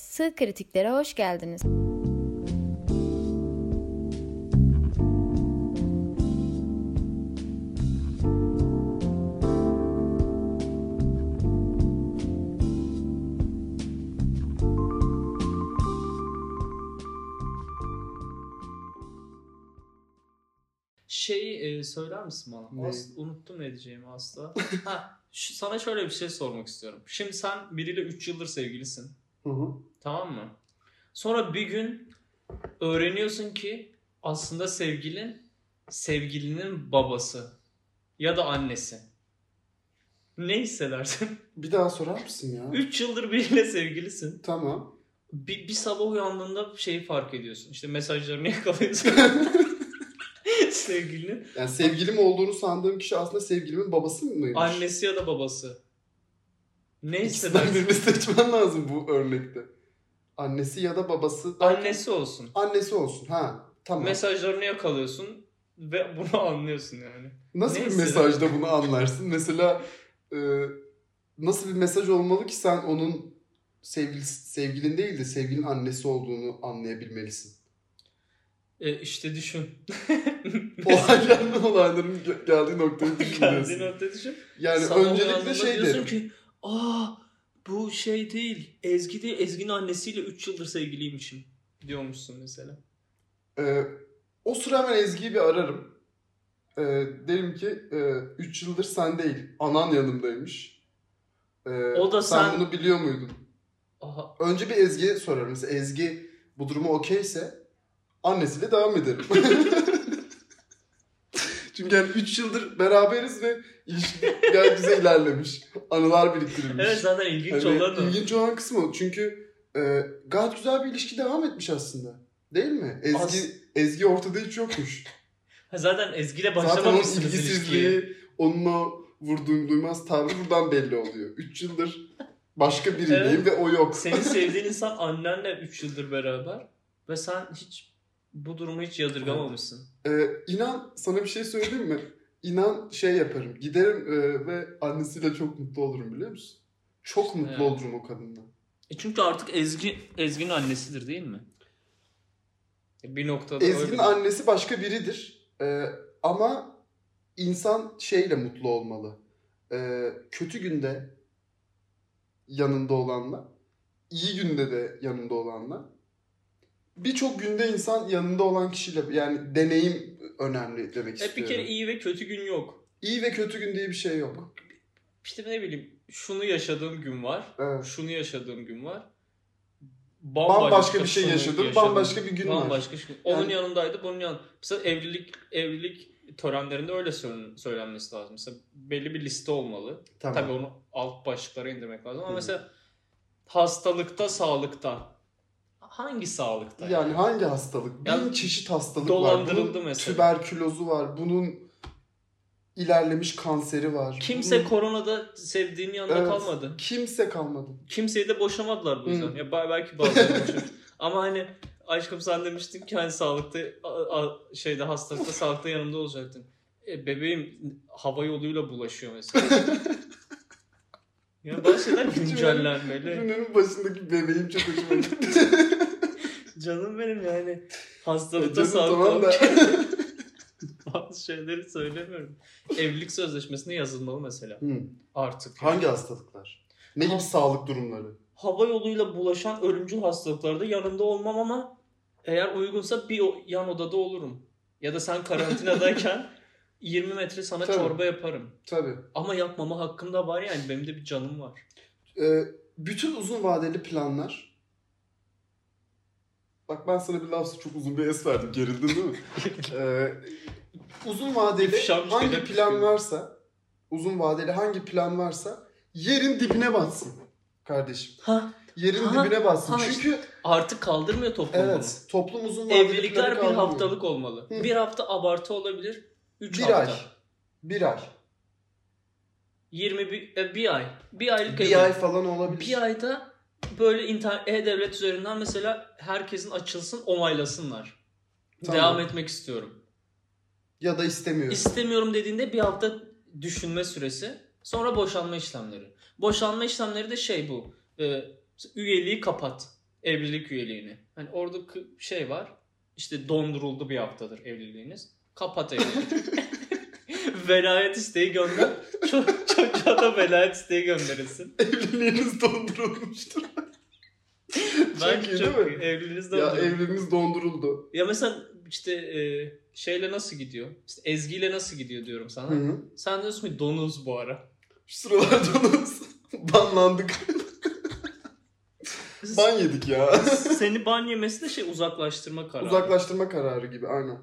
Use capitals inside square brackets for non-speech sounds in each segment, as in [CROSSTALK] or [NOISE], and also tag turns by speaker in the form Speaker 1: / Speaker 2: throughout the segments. Speaker 1: Sığ Kritiklere hoş geldiniz.
Speaker 2: Şey e, söyler misin bana?
Speaker 3: Ne?
Speaker 2: As- unuttum ne diyeceğimi asla. [LAUGHS] ha, şu- sana şöyle bir şey sormak istiyorum. Şimdi sen biriyle 3 yıldır sevgilisin.
Speaker 3: Hı hı.
Speaker 2: Tamam mı? Sonra bir gün öğreniyorsun ki aslında sevgilin sevgilinin babası ya da annesi. Ne hissedersin?
Speaker 3: Bir daha sorar mısın ya?
Speaker 2: 3 yıldır biriyle sevgilisin.
Speaker 3: Tamam.
Speaker 2: Bir, bir sabah uyandığında şeyi fark ediyorsun. İşte mesajlarını [LAUGHS] yakalıyorsun. Sevgilinin
Speaker 3: Yani sevgilim olduğunu sandığım kişi aslında sevgilimin babası mıymış?
Speaker 2: Annesi ya da babası. Ne
Speaker 3: İkisinden
Speaker 2: hissedersin?
Speaker 3: birini seçmen lazım bu örnekte. Annesi ya da babası.
Speaker 2: [LAUGHS]
Speaker 3: derken-
Speaker 2: Annesi olsun.
Speaker 3: Annesi olsun. Ha. Tamam.
Speaker 2: Mesajlarını yakalıyorsun ve bunu anlıyorsun yani.
Speaker 3: nasıl bir
Speaker 2: neyse.
Speaker 3: mesajda bunu anlarsın? Mesela e, nasıl bir mesaj olmalı ki sen onun sevgili, sevgilin değil de sevgilin annesi olduğunu
Speaker 2: [LAUGHS]
Speaker 3: anlayabilmelisin.
Speaker 2: E işte düşün.
Speaker 3: Olayların olayların gö- geldiği noktayı
Speaker 2: [LAUGHS] Kendini
Speaker 3: düşünüyorsun.
Speaker 2: öte düşün.
Speaker 3: Yani
Speaker 2: Sabah
Speaker 3: öncelikle
Speaker 2: uyandığında
Speaker 3: şey
Speaker 2: diyorsun
Speaker 3: derim.
Speaker 2: ki aa bu şey değil. Ezgi değil. Ezgi'nin annesiyle 3 yıldır sevgiliymişim diyormuşsun mesela.
Speaker 3: Ee, o sıra hemen Ezgi'yi bir ararım. Ee, derim ki 3 yıldır sen değil, anan yanımdaymış. Ee,
Speaker 2: O da sen-
Speaker 3: bunu biliyor muydun?
Speaker 2: Aha.
Speaker 3: Önce bir Ezgi'ye sorarım. Mesela Ezgi bu duruma okeyse annesiyle devam ederim. [LAUGHS] Çünkü yani 3 yıldır beraberiz ve ilişki gayet güzel ilerlemiş. Anılar biriktirilmiş.
Speaker 2: Evet zaten ilginç
Speaker 3: Hani
Speaker 2: olan o.
Speaker 3: ilginç olan kısmı o. Çünkü e, gayet güzel bir ilişki devam etmiş aslında. Değil mi? Ezgi
Speaker 2: As-
Speaker 3: Ezgi ortada hiç yokmuş.
Speaker 2: Ha, Zaten Ezgi'yle
Speaker 3: Zaten onun
Speaker 2: [LAUGHS] başlamamışsınız ilişkiye.
Speaker 3: ilgisizliği, onun o vurduğum duymaz tavrı buradan belli oluyor. 3 yıldır başka birindeyim
Speaker 2: Evet.
Speaker 3: ve o yok. [LAUGHS]
Speaker 2: Senin sevdiğin insan annenle 3 yıldır beraber ve sen hiç bu durumu hiç yadırgamamışsın.
Speaker 3: E, inan sana bir şey söyleyeyim mi? İnan şey yaparım. Giderim e, ve annesiyle çok mutlu olurum biliyor musun? Çok mutlu
Speaker 2: evet.
Speaker 3: olurum o kadınla.
Speaker 2: E çünkü artık Ezgi Ezgi'nin annesidir değil mi? E, Bir noktada
Speaker 3: Ezgi'nin
Speaker 2: öyle.
Speaker 3: annesi başka biridir. Ee, ama insan şeyle mutlu olmalı. Ee, kötü günde yanında olanla, iyi günde de yanında olanla. Birçok günde insan yanında olan kişiyle yani deneyim önemli demek
Speaker 2: E
Speaker 3: istiyorum.
Speaker 2: bir kere iyi ve kötü gün yok.
Speaker 3: İyi ve kötü gün diye bir şey yok.
Speaker 2: İşte ne bileyim şunu yaşadığım gün var.
Speaker 3: Evet.
Speaker 2: Şunu yaşadığım gün var.
Speaker 3: Bambaşka bir şey
Speaker 2: sonu
Speaker 3: yaşadım, bambaşka bir gün var.
Speaker 2: bambaşka şey- Onun
Speaker 3: Yani-
Speaker 2: yanındaydı, bunun yanında. Mesela evlilik evlilik törenlerinde öyle söylen- söylenmesi lazım. Mesela belli bir liste olmalı.
Speaker 3: Tamam.
Speaker 2: Tabii onu alt başlıklara indirmek lazım ama
Speaker 3: Hı.
Speaker 2: mesela hastalıkta, sağlıkta. Hangi sağlıkta?
Speaker 3: Yani hangi hastalık? Bin
Speaker 2: Yani
Speaker 3: çeşit hastalık var.
Speaker 2: dolandırıldı
Speaker 3: Bunun
Speaker 2: mesela.
Speaker 3: tüberkülozu var. Bunun ilerlemiş kanseri var.
Speaker 2: Kimse
Speaker 3: Bunun-
Speaker 2: koronada sevdiğinin yanında
Speaker 3: Evet.
Speaker 2: kalmadı.
Speaker 3: Kimse kalmadı.
Speaker 2: Kimseyi de boşamadılar bu
Speaker 3: Hı.
Speaker 2: yüzden. Ya ba- belki
Speaker 3: [LAUGHS]
Speaker 2: bazıları boşadı. Ama hani aşkım sen demiştin ki hani sağlıkta a- a- şeyde hastalıkta sağlıkta yanımda olacaktın. E, bebeğim hava yoluyla bulaşıyor
Speaker 3: [LAUGHS]
Speaker 2: mesela. ya bazı şeyler güncellenmeli.
Speaker 3: Ürünün başındaki bebeğim çok hoşuma gitti.
Speaker 2: Canım benim yani.
Speaker 3: E Canım
Speaker 2: Hastalıkta
Speaker 3: tamam
Speaker 2: sağlıkta
Speaker 3: da
Speaker 2: [LAUGHS] bazı şeyleri söylemiyorum. Evlilik sözleşmesine yazılmalı mesela.
Speaker 3: [LAUGHS] Hı.
Speaker 2: Artık. yani.
Speaker 3: hangi hastalıklar? Ne gibi
Speaker 2: Ha-
Speaker 3: sağlık durumları?
Speaker 2: Hava yoluyla bulaşan ölümcül hastalıklarda yanında olmam ama eğer uygunsa bir o- yan odada olurum. Ya da sen
Speaker 3: [LAUGHS]
Speaker 2: karantinadayken 20 metre sana
Speaker 3: Tabii.
Speaker 2: çorba yaparım.
Speaker 3: Tabii.
Speaker 2: Ama yapmama hakkım da var yani. Benim de bir canım var.
Speaker 3: Ee, bütün uzun vadeli planlar Bak ben sana bir laf çok uzun bir es verdim. Gerildin
Speaker 2: [LAUGHS]
Speaker 3: değil mi? Ee, uzun vadeli
Speaker 2: İfşamış
Speaker 3: hangi
Speaker 2: telaffuz
Speaker 3: plan
Speaker 2: gibi.
Speaker 3: varsa uzun vadeli hangi plan varsa yerin dibine batsın kardeşim.
Speaker 2: Ha,
Speaker 3: Yerin
Speaker 2: Ha,
Speaker 3: dibine batsın.
Speaker 2: ha,
Speaker 3: Çünkü
Speaker 2: artık kaldırmıyor toplum
Speaker 3: evet toplum uzun
Speaker 2: bunu.
Speaker 3: vadeli planı
Speaker 2: Evlilikler bir
Speaker 3: kaldırmıyor.
Speaker 2: haftalık olmalı.
Speaker 3: Hı.
Speaker 2: Bir hafta abartı olabilir. 3
Speaker 3: Bir
Speaker 2: hafta.
Speaker 3: ay. Bir ay.
Speaker 2: 20 bir, e, bir ay. Bir aylık
Speaker 3: Bir
Speaker 2: evlilik.
Speaker 3: ay falan olabilir.
Speaker 2: Bir ayda böyle internet e-devlet üzerinden mesela herkesin açılsın onaylasınlar.
Speaker 3: Tamam.
Speaker 2: Devam etmek istiyorum.
Speaker 3: Ya da istemiyorum.
Speaker 2: İstemiyorum dediğinde bir hafta düşünme süresi. Sonra boşanma işlemleri. Boşanma işlemleri de şey bu. e, üyeliği kapat. evlilik üyeliğini. Hani orada kı- şey var. İşte donduruldu bir haftadır evliliğiniz. Kapat evliliği.
Speaker 3: [LAUGHS]
Speaker 2: velayet isteği gönder. Ço- çocuğa da velayet isteği gönderilsin.
Speaker 3: [LAUGHS] Evliliğiniz dondurulmuştur.
Speaker 2: Ben
Speaker 3: Çok iyi
Speaker 2: çok
Speaker 3: değil mi?
Speaker 2: evliliğiniz
Speaker 3: ya
Speaker 2: donduruldu.
Speaker 3: evliliğiniz donduruldu.
Speaker 2: Ya mesela işte e, şeyle nasıl gidiyor? İşte Ezgi'yle nasıl gidiyor diyorum sana.
Speaker 3: Hı hı.
Speaker 2: Sen diyorsun ki donuz bu ara.
Speaker 3: Şu sıralar donuz. [LAUGHS] Banlandık. Ban yedik ya.
Speaker 2: [LAUGHS] Seni ban yemesi de şey uzaklaştırma kararı.
Speaker 3: Uzaklaştırma kararı gibi aynen.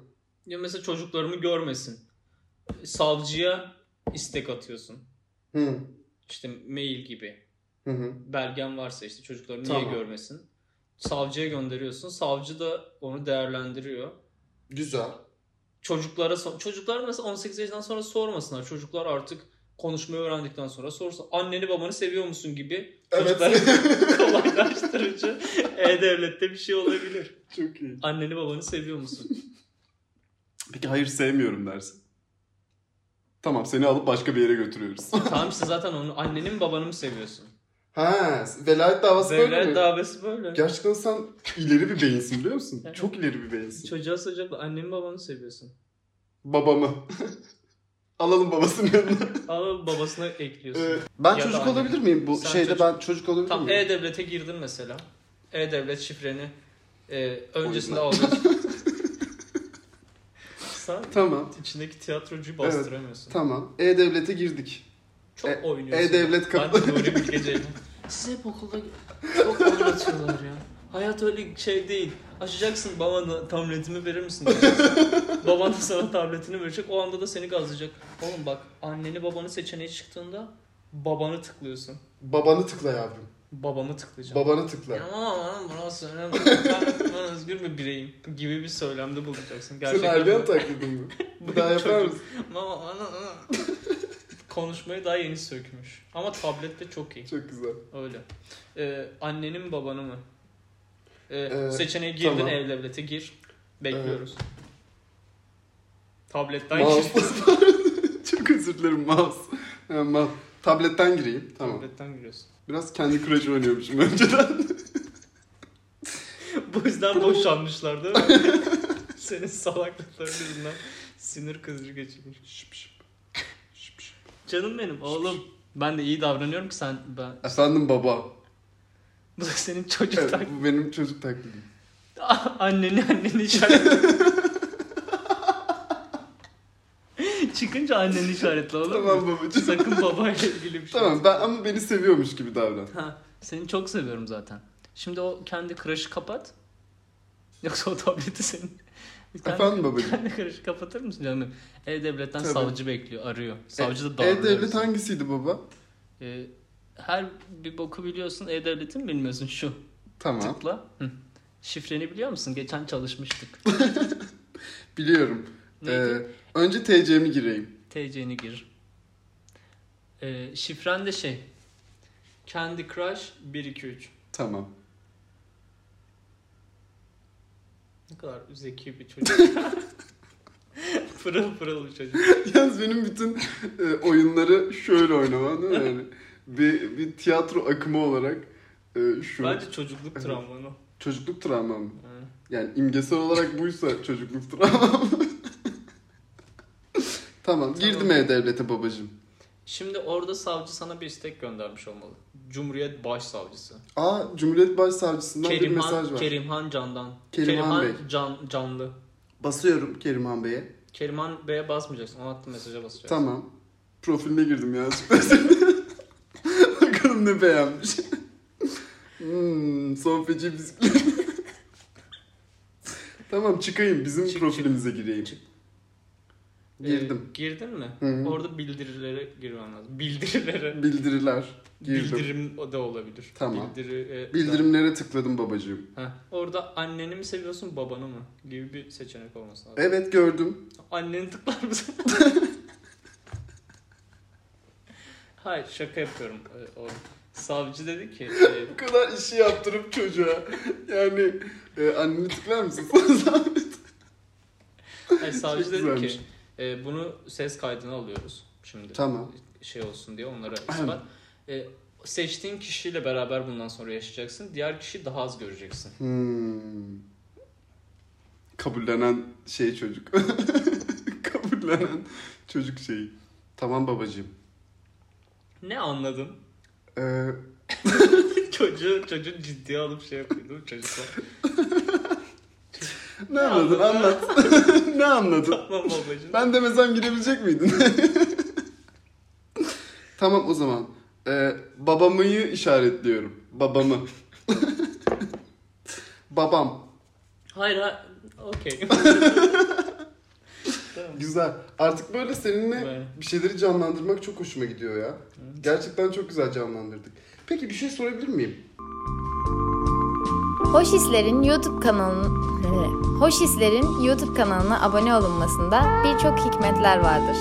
Speaker 2: Ya mesela çocuklarımı görmesin. Savcıya istek atıyorsun.
Speaker 3: Hı.
Speaker 2: İşte mail gibi.
Speaker 3: Hı hı.
Speaker 2: Belgen varsa işte çocuklarımı niye
Speaker 3: Tamam.
Speaker 2: görmesin. Savcıya gönderiyorsun. Savcı da onu değerlendiriyor.
Speaker 3: Güzel.
Speaker 2: Çocuklara so- çocuklar mesela 18 yaşından sonra sormasınlar. Çocuklar artık konuşmayı öğrendikten sonra sorsa anneni babanı seviyor musun gibi [LAUGHS]
Speaker 3: Evet.
Speaker 2: çocuklara kolaylaştırıcı e-devlette bir şey olabilir.
Speaker 3: [LAUGHS] Çok iyi.
Speaker 2: Anneni babanı seviyor musun?
Speaker 3: Peki hayır sevmiyorum dersin. Tamam seni alıp başka bir yere götürüyoruz.
Speaker 2: tamam işte zaten onu anneni mi babanı mı seviyorsun?
Speaker 3: ha, velayet davası böyle mi?
Speaker 2: Devlet davası böyle.
Speaker 3: Gerçekten sen ileri bir beyinsin biliyor musun?
Speaker 2: Evet.
Speaker 3: Çok ileri bir beyinsin.
Speaker 2: Çocuğa soracaklar annemi babanı seviyorsun.
Speaker 3: Babamı. [LAUGHS] Alalım babasının yanına.
Speaker 2: Ama babasına ekliyorsun.
Speaker 3: Ee, ben
Speaker 2: Ya da
Speaker 3: çocuk
Speaker 2: anne.
Speaker 3: olabilir miyim? Bu
Speaker 2: Sen
Speaker 3: şeyde
Speaker 2: çocuk- E-
Speaker 3: ben çocuk olabilir
Speaker 2: Tam
Speaker 3: miyim?
Speaker 2: E-Devlet'e girdin mesela. E-Devlet şifreni e, öncesinde
Speaker 3: Oyunlar.
Speaker 2: alıyorsun. Sen
Speaker 3: Tamam.
Speaker 2: içindeki tiyatrocuyu
Speaker 3: Evet.
Speaker 2: bastıramıyorsun.
Speaker 3: Tamam. E-Devlet'e girdik.
Speaker 2: Çok
Speaker 3: E-
Speaker 2: oynuyorsun.
Speaker 3: E-Devlet
Speaker 2: Ben
Speaker 3: kapı.
Speaker 2: de Nuri Bilge
Speaker 3: [LAUGHS]
Speaker 2: Ceylan. Siz hep okulda çok anlatıyorlar ya. Hayat öyle şey değil. Açacaksın babana tabletimi verir
Speaker 3: [LAUGHS]
Speaker 2: misin? diyeceksin. Baban da sana tabletini verecek. O anda da seni gazlayacak. Oğlum bak anneni babanı seçeneği çıktığında babanı tıklıyorsun.
Speaker 3: Babanı tıkla yavrum.
Speaker 2: Babamı tıklayacağım.
Speaker 3: Babanı tıkla.
Speaker 2: Ya Ama bana
Speaker 3: [LAUGHS]
Speaker 2: söylemem. Ben, ben özgür bir bireyim gibi bir söylemde bulunacaksın.
Speaker 3: Sen
Speaker 2: Gerçekten
Speaker 3: ergen
Speaker 2: bu- [LAUGHS]
Speaker 3: taklidi mi?
Speaker 2: bu
Speaker 3: Bir daha yapar
Speaker 2: çocuk-
Speaker 3: mısın?
Speaker 2: Ama ana, ana. [LAUGHS] Konuşmayı daha yeni sökmüş. Ama tablette çok iyi.
Speaker 3: Çok güzel.
Speaker 2: Öyle. Ee, annenin mi babanı mı? Ee,
Speaker 3: Ee,
Speaker 2: seçeneğe girdin
Speaker 3: tamam.
Speaker 2: ev devlete gir. Bekliyoruz. Tabletten gir.
Speaker 3: Ee, Mouse. Çok özür dilerim mouse. Ha, mouse. Tabletten gireyim. [LAUGHS] Tamam.
Speaker 2: Tabletten giriyorsun.
Speaker 3: Biraz kendi Crush oynuyormuşum önceden. [LAUGHS]
Speaker 2: Bu yüzden boşanmışlar değil mi? [LAUGHS] Senin salaklıkların yüzünden sinir kızıcı geçirmiş.
Speaker 3: Şıp şıp. Şıp şıp.
Speaker 2: Canım benim oğlum. Ben de iyi davranıyorum ki sen ben. [LAUGHS]
Speaker 3: Efendim baba.
Speaker 2: Bu da senin
Speaker 3: Evet,
Speaker 2: çocuktan.
Speaker 3: bu benim çocuk taklidim.
Speaker 2: [LAUGHS] anneni anneni işaretle.
Speaker 3: [LAUGHS]
Speaker 2: Çıkınca anneni işaretle olur mu?
Speaker 3: Tamam babacığım.
Speaker 2: Sakın babayla ilgili bir şey.
Speaker 3: Tamam ben ama beni seviyormuş gibi davran.
Speaker 2: Ha, seni çok seviyorum zaten. Şimdi o kendi crush'ı kapat. Yoksa o tableti senin. Kendi,
Speaker 3: Efendim babacığım.
Speaker 2: kendi crush'ı kapatır mısın canım? E-Devlet'ten
Speaker 3: Tabii. E-
Speaker 2: savcı bekliyor, arıyor. [LAUGHS] Savcı da darlıyor.
Speaker 3: E-Devlet
Speaker 2: bizi.
Speaker 3: hangisiydi baba?
Speaker 2: Ee, her bir boku biliyorsun, E-Devlet'i mi bilmiyorsun? Şu.
Speaker 3: Tamam.
Speaker 2: Tıkla. Hı. Şifreni biliyor musun? Geçen
Speaker 3: [LAUGHS]
Speaker 2: çalışmıştık.
Speaker 3: Biliyorum.
Speaker 2: Neydi?
Speaker 3: Ee, önce TC'mi gireyim.
Speaker 2: TC'ni gir. Ee, şifren de şey. Candy Crush 1 2 3.
Speaker 3: Tamam. [LAUGHS]
Speaker 2: Ne kadar zeki bir çocuk. [LAUGHS] pırıl pırıl bir çocuk.
Speaker 3: Yalnız benim bütün e, oyunları şöyle oynamam değil mi? Yani bir, bir tiyatro akımı olarak e, şu
Speaker 2: Bence çocukluk
Speaker 3: Evet.
Speaker 2: travmanı.
Speaker 3: çocukluk travmam.
Speaker 2: Ha.
Speaker 3: Yani imgesel
Speaker 2: [LAUGHS]
Speaker 3: olarak buysa çocukluk travmam. [LAUGHS] tamam girdim E-Devlet'e babacığım.
Speaker 2: Şimdi orada savcı sana bir istek göndermiş olmalı. Cumhuriyet Başsavcısı.
Speaker 3: Aa Cumhuriyet Başsavcısından bir mesaj
Speaker 2: Kerimhan,
Speaker 3: var.
Speaker 2: Kerimhan Can'dan.
Speaker 3: Kerimhan
Speaker 2: Can, Canlı.
Speaker 3: Basıyorum Kerimhan Bey'e.
Speaker 2: Kerimhan Bey'e basmayacaksın. Ona attığın mesaja basacaksın.
Speaker 3: Tamam. Profiline girdim ya. [LAUGHS] Bakalım ne beğenmiş. hmm, son feci bisiklet. [LAUGHS] tamam çıkayım. Bizim
Speaker 2: Çık, çık.
Speaker 3: profilimize gireyim.
Speaker 2: Çık. Ee,
Speaker 3: Girdim.
Speaker 2: girdin mi?
Speaker 3: Hı hı.
Speaker 2: Orada bildirilere girmen lazım. Bildirilere.
Speaker 3: Bildiriler. Girdim.
Speaker 2: Bildirim o da olabilir.
Speaker 3: Tamam.
Speaker 2: Bildiri, e,
Speaker 3: Bildirimlere tıkladım babacığım.
Speaker 2: Heh. Orada anneni mi seviyorsun babanı mı? Gibi bir seçenek olması lazım.
Speaker 3: Evet gördüm.
Speaker 2: Anneni tıklar
Speaker 3: [LAUGHS]
Speaker 2: mısın? Hayır şaka yapıyorum. Ee, O savcı dedi ki
Speaker 3: [LAUGHS]
Speaker 2: e,
Speaker 3: Bu kadar işi yaptırıp çocuğa. Yani e, anneni tıklar mısın? [LAUGHS]
Speaker 2: hayır, savcı
Speaker 3: Çok
Speaker 2: dedi
Speaker 3: güzelmiş.
Speaker 2: ki e, bunu ses kaydına alıyoruz şimdi
Speaker 3: tamam. [CLEARS THROAT]
Speaker 2: şey olsun diye onlara
Speaker 3: Ahem.
Speaker 2: ispat. E, seçtiğin kişiyle beraber bundan sonra yaşayacaksın. Diğer kişiyi daha az göreceksin.
Speaker 3: Hmm. Kabullenen şey çocuk. [LAUGHS] Kabullenen çocuk şeyi. Tamam babacığım.
Speaker 2: Ne anladın? [LAUGHS]
Speaker 3: Ee,
Speaker 2: Çocuğu, çocuğu ciddiye alıp şey yapıyordum çocuklar. [LAUGHS]
Speaker 3: ne anladın anlat. [LAUGHS] ne anladın?
Speaker 2: Tamam babacığım.
Speaker 3: Ben demesem girebilecek miydin? [LAUGHS] tamam o zaman. Ee, babamıyı işaretliyorum. Babamı. [LAUGHS] Babam.
Speaker 2: Hayır hayır.
Speaker 3: [LAUGHS]
Speaker 2: Okey. tamam.
Speaker 3: Güzel. Artık böyle seninle
Speaker 2: Böyle.
Speaker 3: bir şeyleri canlandırmak çok hoşuma gidiyor ya. Gerçekten çok güzel canlandırdık. Peki bir şey sorabilir miyim?
Speaker 1: Hoş Hisler'in YouTube kanalının [LAUGHS] Hoş Hisler'in YouTube kanalına abone olunmasında birçok hikmetler vardır.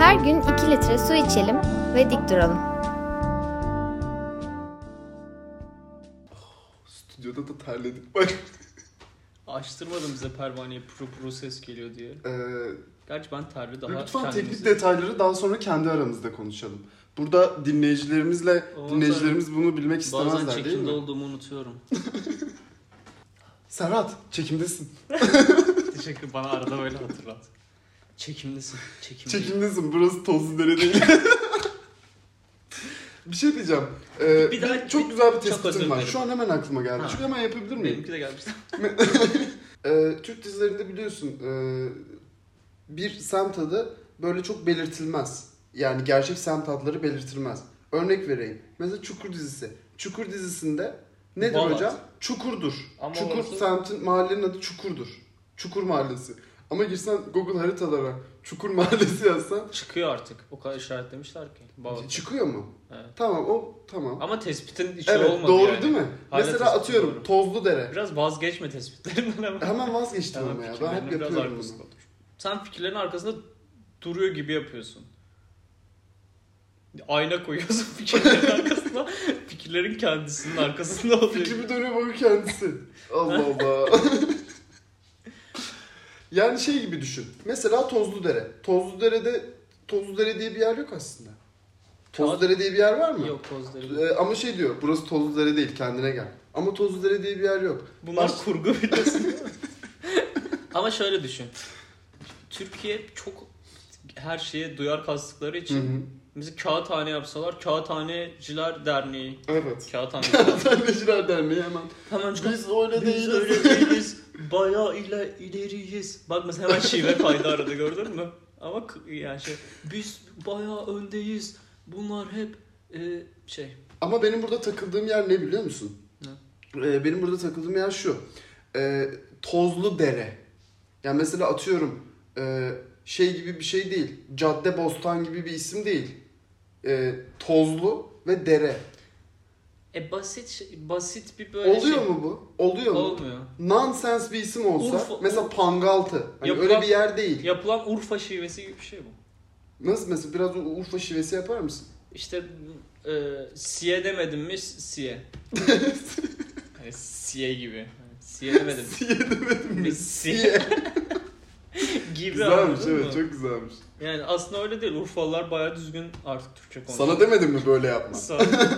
Speaker 1: Her gün 2 litre su içelim ve dik duralım.
Speaker 3: Stüdyoda da terledik bak.
Speaker 2: Açtırmadım bize pervaneye pro pro ses geliyor diye.
Speaker 3: Ee,
Speaker 2: Gerçi ben terli daha
Speaker 3: lütfen
Speaker 2: kendimizi-
Speaker 3: teknik detayları daha sonra kendi aramızda konuşalım. Burada dinleyicilerimizle,
Speaker 2: Ondan
Speaker 3: dinleyicilerimiz bunu bilmek
Speaker 2: Bazen
Speaker 3: istemezler değil
Speaker 2: çekimde
Speaker 3: mi?
Speaker 2: olduğumu
Speaker 3: [LAUGHS]
Speaker 2: unutuyorum.
Speaker 3: Serhat, çekimdesin.
Speaker 2: Teşekkür bana arada böyle hatırlat. Çekimdesin. Çekimdeyim.
Speaker 3: Çekimdesin, burası tozlu
Speaker 2: [LAUGHS]
Speaker 3: dere değil. bir şey diyeceğim. Ee,
Speaker 2: Bir daha-
Speaker 3: çok
Speaker 2: bir-
Speaker 3: güzel bir
Speaker 2: çok özür
Speaker 3: tespitim var.
Speaker 2: dilerim.
Speaker 3: Şu an hemen aklıma geldi.
Speaker 2: Ha.
Speaker 3: Çünkü hemen yapabilir miyim?
Speaker 2: Benimki de gelmişti.
Speaker 3: Ee, Türk dizilerinde biliyorsun e, bir semt adı böyle çok belirtilmez. Yani gerçek semt adları belirtilmez. Örnek vereyim. Mesela Çukur dizisi. Çukur dizisinde nedir
Speaker 2: Balat.
Speaker 3: hocam? Çukurdur.
Speaker 2: Ama
Speaker 3: Çukur
Speaker 2: orası-
Speaker 3: semtin mahallenin adı Çukur'dur. Çukur Mahallesi. Ama girsen Google haritalara Çukur [LAUGHS] Mahallesi yazsan
Speaker 2: Çıkıyor artık. O kadar işaretlemişler ki. Baba.
Speaker 3: çıkıyor mu?
Speaker 2: Evet.
Speaker 3: Tamam o tamam.
Speaker 2: Ama tespitin içi
Speaker 3: evet
Speaker 2: olmadı
Speaker 3: doğru
Speaker 2: yani.
Speaker 3: değil mi?
Speaker 2: Hala
Speaker 3: Mesela
Speaker 2: tespit
Speaker 3: atıyorum
Speaker 2: doğru.
Speaker 3: Tozlu Dere.
Speaker 2: Biraz vazgeçme tespitlerinden ama.
Speaker 3: Hemen vazgeçtim
Speaker 2: Tamam,
Speaker 3: ama ya. Ben
Speaker 2: fikirlerinin
Speaker 3: hep
Speaker 2: biraz
Speaker 3: yapıyorum bunu.
Speaker 2: arkasında dur. Sen fikirlerin arkasında duruyor gibi yapıyorsun. Ayna koyuyorsun [LAUGHS] fikirlerin arkasına. Fikirlerin kendisinin arkasında oluyor.
Speaker 3: Fikrimi dönüyor bakıyor kendisi. [LAUGHS] Allah Allah. [LAUGHS] yani şey gibi düşün. Mesela Tozludere. Tozludere'de Tozludere diye bir yer yok aslında. Tozludere diye bir yer var mı?
Speaker 2: Yok pozları.
Speaker 3: Ee, ama şey diyor. Burası Tozludere değil kendine gel. Ama Tozludere diye bir yer yok.
Speaker 2: Bunlar
Speaker 3: Baş-
Speaker 2: kurgu biliyorsun. [LAUGHS] Ama şöyle düşün. Türkiye çok her şeye duyar kastıkları
Speaker 3: Hı
Speaker 2: için
Speaker 3: hı.
Speaker 2: bizi kağıthane yapsalar Kağıthaneciler Derneği
Speaker 3: [LAUGHS] Evet.
Speaker 2: Kağıthane
Speaker 3: Tanrıcılar Derneği hemen.
Speaker 2: Hemen çıkar.
Speaker 3: Biz öyle
Speaker 2: Biz
Speaker 3: değiliz.
Speaker 2: öyle değiliz. Bayağı ile ileriyiz. Bak mesela hemen şive kaydı arada gördün mü? Ama k- yani şey biz bayağı öndeyiz. Bunlar hep e, şey.
Speaker 3: Ama benim burada takıldığım yer ne biliyor musun?
Speaker 2: Ne?
Speaker 3: Ee, benim burada takıldığım yer şu. Ee, tozlu dere. Yani mesela atıyorum e, şey gibi bir şey değil. Cadde Bostan gibi bir isim değil. Ee, tozlu ve dere.
Speaker 2: E basit şey- basit bir böyle
Speaker 3: Oluyor
Speaker 2: şey.
Speaker 3: mu bu? Oluyor mu?
Speaker 2: Olmuyor.
Speaker 3: Nonsense bir isim olsa
Speaker 2: Urfa-
Speaker 3: mesela Pangaltı. Hani
Speaker 2: Yapılan-
Speaker 3: öyle bir yer değil.
Speaker 2: Yapılan Urfa şivesi gibi bir şey bu.
Speaker 3: Nasıl mesela biraz U- Urfa şivesi yapar
Speaker 2: [LAUGHS]
Speaker 3: mısın?
Speaker 2: İşte e, siye demedim mi
Speaker 3: [LAUGHS]
Speaker 2: siye. hani siye gibi. Hani Siye
Speaker 3: [LAUGHS]
Speaker 2: demedim.
Speaker 3: Yedemedim
Speaker 2: mi?
Speaker 3: mi?
Speaker 2: Siye. gibi
Speaker 3: güzelmiş
Speaker 2: anladın mı?
Speaker 3: evet çok güzelmiş.
Speaker 2: Yani aslında öyle değil. Urfalılar bayağı düzgün artık Türkçe konuşuyor.
Speaker 3: Sana demedim mi böyle yapma?
Speaker 2: Sana-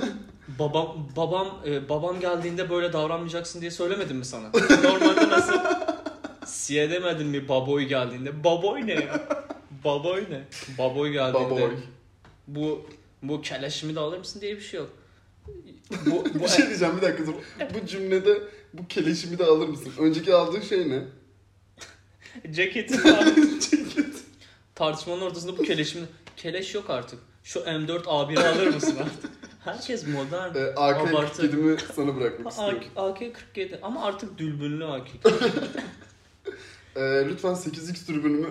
Speaker 2: babam babam e, babam geldiğinde böyle davranmayacaksın diye söylemedim mi sana? Normalde nasıl? Siye demedin mi baboy geldiğinde? Baboy ne ya? Baboy ne? Baboy geldiğinde.
Speaker 3: Baboy.
Speaker 2: Bu bu keleşimi de alır mısın diye bir şey yok. Bu,
Speaker 3: [LAUGHS]
Speaker 2: bu [LAUGHS]
Speaker 3: bir şey diyeceğim bir dakika dur. Bu cümlede bu keleşimi de alır mısın? Önceki aldığın şey ne?
Speaker 2: e, ceketi
Speaker 3: [LAUGHS]
Speaker 2: Tartışmanın ortasında bu keleşimi... Keleş yok artık. Şu M4 A1'i alır mısın
Speaker 3: [LAUGHS]
Speaker 2: artık? Herkes modern.
Speaker 3: Ee, AK
Speaker 2: Abartı.
Speaker 3: kedimi
Speaker 2: [LAUGHS]
Speaker 3: sana bırakmak istiyorum.
Speaker 2: AK-47 ama artık dürbünlü AK.
Speaker 3: Ee, lütfen 8x tribünümü.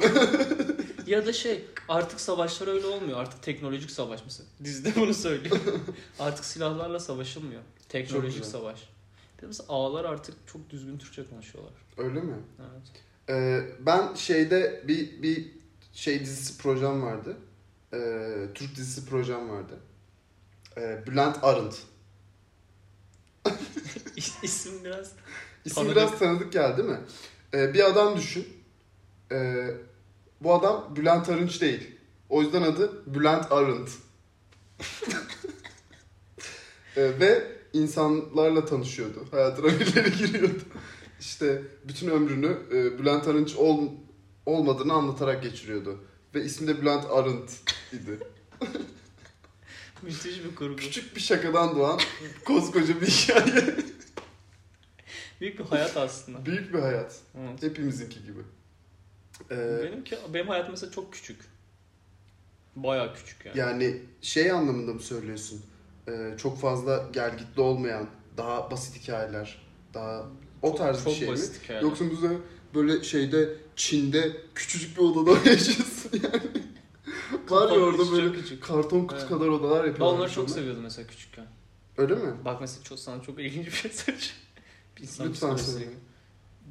Speaker 3: [LAUGHS]
Speaker 2: ya da şey artık savaşlar öyle olmuyor. Artık teknolojik savaş mesela. Dizide bunu
Speaker 3: [LAUGHS]
Speaker 2: söylüyor. artık silahlarla savaşılmıyor.
Speaker 3: Çok
Speaker 2: Teknolojik
Speaker 3: güzel.
Speaker 2: savaş. Bir de Mesela ağalar artık çok düzgün Türkçe konuşuyorlar.
Speaker 3: Öyle mi?
Speaker 2: Evet.
Speaker 3: Ee, ben şeyde bir bir şey dizisi projem vardı. Ee, Türk dizisi projem vardı. Ee, Bülent Arındt.
Speaker 2: İsim biraz [LAUGHS]
Speaker 3: İsim
Speaker 2: Tanıdık.
Speaker 3: biraz tanıdık geldi değil mi? Ee, bir adam düşün. Ee, bu adam Bülent Arınç değil. O yüzden adı Bülent Arındt. E, ve insanlarla tanışıyordu. Hayatına birileri giriyordu. İşte bütün ömrünü e, Bülent Arınç ol, olmadığını anlatarak geçiriyordu. Ve ismi de Bülent Arındt idi.
Speaker 2: Müthiş bir kurgu.
Speaker 3: Küçük bir şakadan doğan koskoca bir hikaye.
Speaker 2: Büyük bir hayat aslında.
Speaker 3: Büyük bir hayat.
Speaker 2: Evet.
Speaker 3: Hepimizinki gibi. Ee,
Speaker 2: Benimki, benim hayatım mesela çok küçük. Bayağı küçük yani.
Speaker 3: yani şey anlamında mı söylüyorsun? Ee, çok fazla gergitli olmayan, daha basit hikayeler, daha o
Speaker 2: Çok-
Speaker 3: tarz
Speaker 2: çok
Speaker 3: bir şey mi?
Speaker 2: basit hikayeler.
Speaker 3: Yoksa bize böyle şeyde Çin'de küçücük bir odada [LAUGHS] mı yaşıyorsun yani. Var ya
Speaker 2: Kapalı,
Speaker 3: orada
Speaker 2: içi
Speaker 3: böyle
Speaker 2: çok küçük.
Speaker 3: karton kutu
Speaker 2: Evet.
Speaker 3: kadar odalar
Speaker 2: Ben
Speaker 3: yapıyorlar.
Speaker 2: onları çok
Speaker 3: insanlar.
Speaker 2: seviyordum mesela küçükken.
Speaker 3: Öyle mi?
Speaker 2: Bak mesela çok, sana çok ilginç bir şey söyleyeceğim. İnsan
Speaker 3: Lütfen
Speaker 2: psikolojisi
Speaker 3: söyle.
Speaker 2: gibi.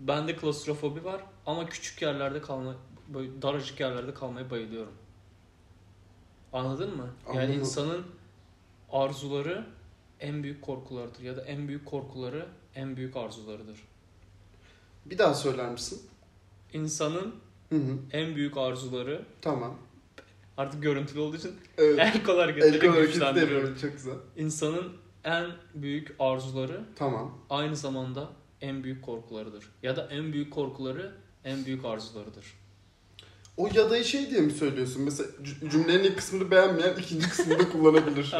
Speaker 2: Bende klostrofobi var ama küçük yerlerde kalma, böyle daracık yerlerde kalmaya bayılıyorum. Anladın mı? Yani
Speaker 3: Anladım.
Speaker 2: insanın arzuları en büyük korkularıdır ya da en büyük korkuları en büyük arzularıdır.
Speaker 3: Bir daha söyler misin?
Speaker 2: İnsanın
Speaker 3: Hı hı.
Speaker 2: en büyük arzuları [LAUGHS]
Speaker 3: Tamam. artık
Speaker 2: artık görüntülü olduğu için
Speaker 3: Evet.
Speaker 2: el kol
Speaker 3: El kol
Speaker 2: hareketleriyle
Speaker 3: hareketi de
Speaker 2: güçlendiriyorum.
Speaker 3: yapıyorum. Çok güzel.
Speaker 2: İnsanın en büyük arzuları
Speaker 3: Tamam.
Speaker 2: aynı zamanda en büyük korkularıdır. Ya da en büyük korkuları en büyük arzularıdır.
Speaker 3: O ya da şey diye mi söylüyorsun? Mesela cü- cümlenin ilk kısmını beğenmeyen ikinci kısmını da kullanabilir.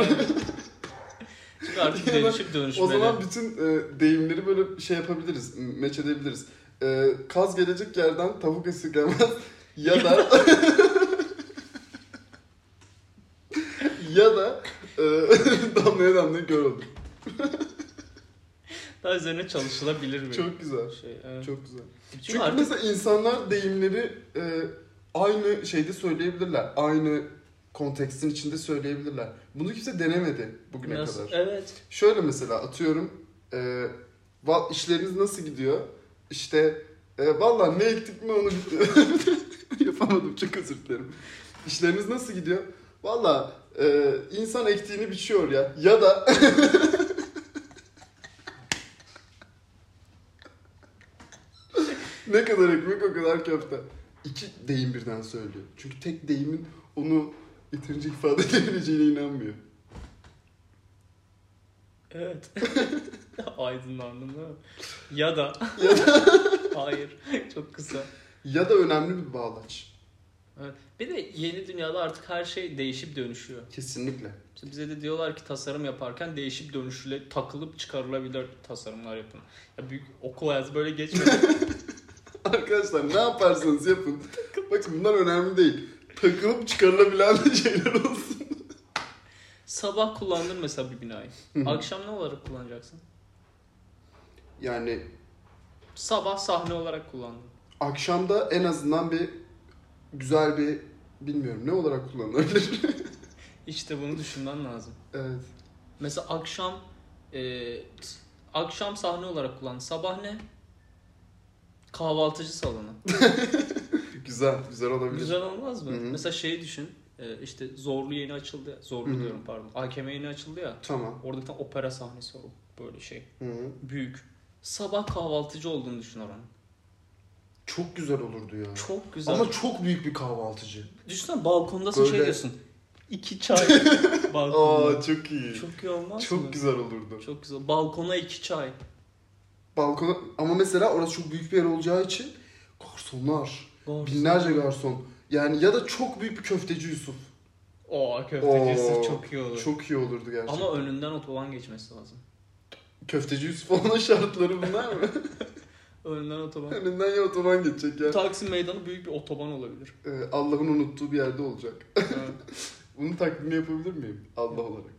Speaker 2: [LAUGHS]
Speaker 3: [LAUGHS]
Speaker 2: Çünkü artık
Speaker 3: Ya da
Speaker 2: dönüşüp dönüşmeli.
Speaker 3: o zaman bütün e, deyimleri böyle şey yapabiliriz, m- meç edebiliriz. E, kaz gelecek yerden tavuk esirgemez [LAUGHS] ya da [LAUGHS] ya da e, [LAUGHS] damlaya damlaya göl olur.
Speaker 2: daha üzerine çalışılabilir mi?
Speaker 3: Çok güzel.
Speaker 2: şey. evet.
Speaker 3: Çok güzel.
Speaker 2: Çünkü,
Speaker 3: Çünkü
Speaker 2: artık
Speaker 3: mesela insanlar deyimleri e, aynı şeyde söyleyebilirler. Aynı kontekstin içinde söyleyebilirler. Bunu kimse denemedi bugüne
Speaker 2: nasıl-
Speaker 3: kadar.
Speaker 2: Evet.
Speaker 3: Şöyle mesela atıyorum e, va- işleriniz nasıl gidiyor? İşte e, valla ne ektik mi onu [LAUGHS] bitti. Yapamadım çok özür dilerim. İşleriniz nasıl gidiyor? Valla e, insan ektiğini biçiyor ya. Ya da [LAUGHS] ne kadar ekmek o kadar köfte. İki deyim birden söylüyor. Çünkü tek deyimin onu yeterince ifade edebileceğine inanmıyor. [LAUGHS]
Speaker 2: Evet. Aydınlandın değil mi? Ya da. Hayır. Çok kısa.
Speaker 3: Ya da önemli bir bağlaç.
Speaker 2: Evet. Bir de yeni dünyada artık her şey değişip dönüşüyor.
Speaker 3: Kesinlikle. [LAUGHS]
Speaker 2: İşte bize de diyorlar ki tasarım yaparken değişip dönüşüle takılıp çıkarılabilir tasarımlar yapın. Ya büyük okul hayatı böyle
Speaker 3: [LAUGHS]
Speaker 2: geçmedi.
Speaker 3: Arkadaşlar ne yaparsanız yapın. Bakın bunlar önemli değil. Takılıp çıkarılabilen [LAUGHS] de şeyler olsun.
Speaker 2: Sabah kullandın mesela bir binayı.
Speaker 3: Hı hı.
Speaker 2: Akşam ne olarak kullanacaksın?
Speaker 3: Yani
Speaker 2: Sabah sahne olarak kullandın.
Speaker 3: akşamda en azından bir güzel bir bilmiyorum ne olarak kullanılabilir. [LAUGHS]
Speaker 2: İşte bunu düşünmen lazım.
Speaker 3: evet.
Speaker 2: Mesela akşam e, t- akşam sahne olarak kullandın. Sabah ne? Kahvaltıcı salonu.
Speaker 3: Güzel, güzel olabilir.
Speaker 2: Güzel olmaz mı?
Speaker 3: Hı hı.
Speaker 2: Mesela şeyi düşün. E, işte Zorlu yeni açıldı. ya- Zorlu
Speaker 3: Hı hı.
Speaker 2: diyorum pardon. AKM yeni açıldı ya.
Speaker 3: Tamam.
Speaker 2: Orada bir tane opera sahnesi var. Böyle şey.
Speaker 3: Hı hı.
Speaker 2: büyük. Sabah kahvaltıcı olduğunu düşün oranın.
Speaker 3: Çok güzel olurdu ya.
Speaker 2: Çok güzel.
Speaker 3: Ama çok büyük bir kahvaltıcı.
Speaker 2: Düşünsene balkondasın
Speaker 3: Böyle-
Speaker 2: şey diyorsun. İki
Speaker 3: [LAUGHS]
Speaker 2: çay balkonda.
Speaker 3: Aa çok iyi. Çok,
Speaker 2: çok iyi olmaz mı?
Speaker 3: güzel olurdu.
Speaker 2: Çok güzel. Balkona iki çay.
Speaker 3: Balkona ama mesela orası çok büyük bir yer olacağı için garsonlar,
Speaker 2: Gorgeous.
Speaker 3: binlerce garson. Yani ya da çok büyük bir köfteci Yusuf.
Speaker 2: Oo köftecisi
Speaker 3: Oo,
Speaker 2: çok iyi olur.
Speaker 3: Çok iyi olurdu gerçekten.
Speaker 2: Ama önünden otoban geçmesi lazım.
Speaker 3: Köfteci Yusuf olma [LAUGHS] şartları bunlar
Speaker 2: [LAUGHS]
Speaker 3: mı?
Speaker 2: Önünden otoban.
Speaker 3: Önünden ya otoban geçecek ya.
Speaker 2: Taksim meydanı büyük bir otoban olabilir. [LAUGHS]
Speaker 3: Ee, Allah'ın unuttuğu bir yerde olacak. [LAUGHS]
Speaker 2: Evet.
Speaker 3: Bunu taklidini yapabilir miyim? Allah olarak.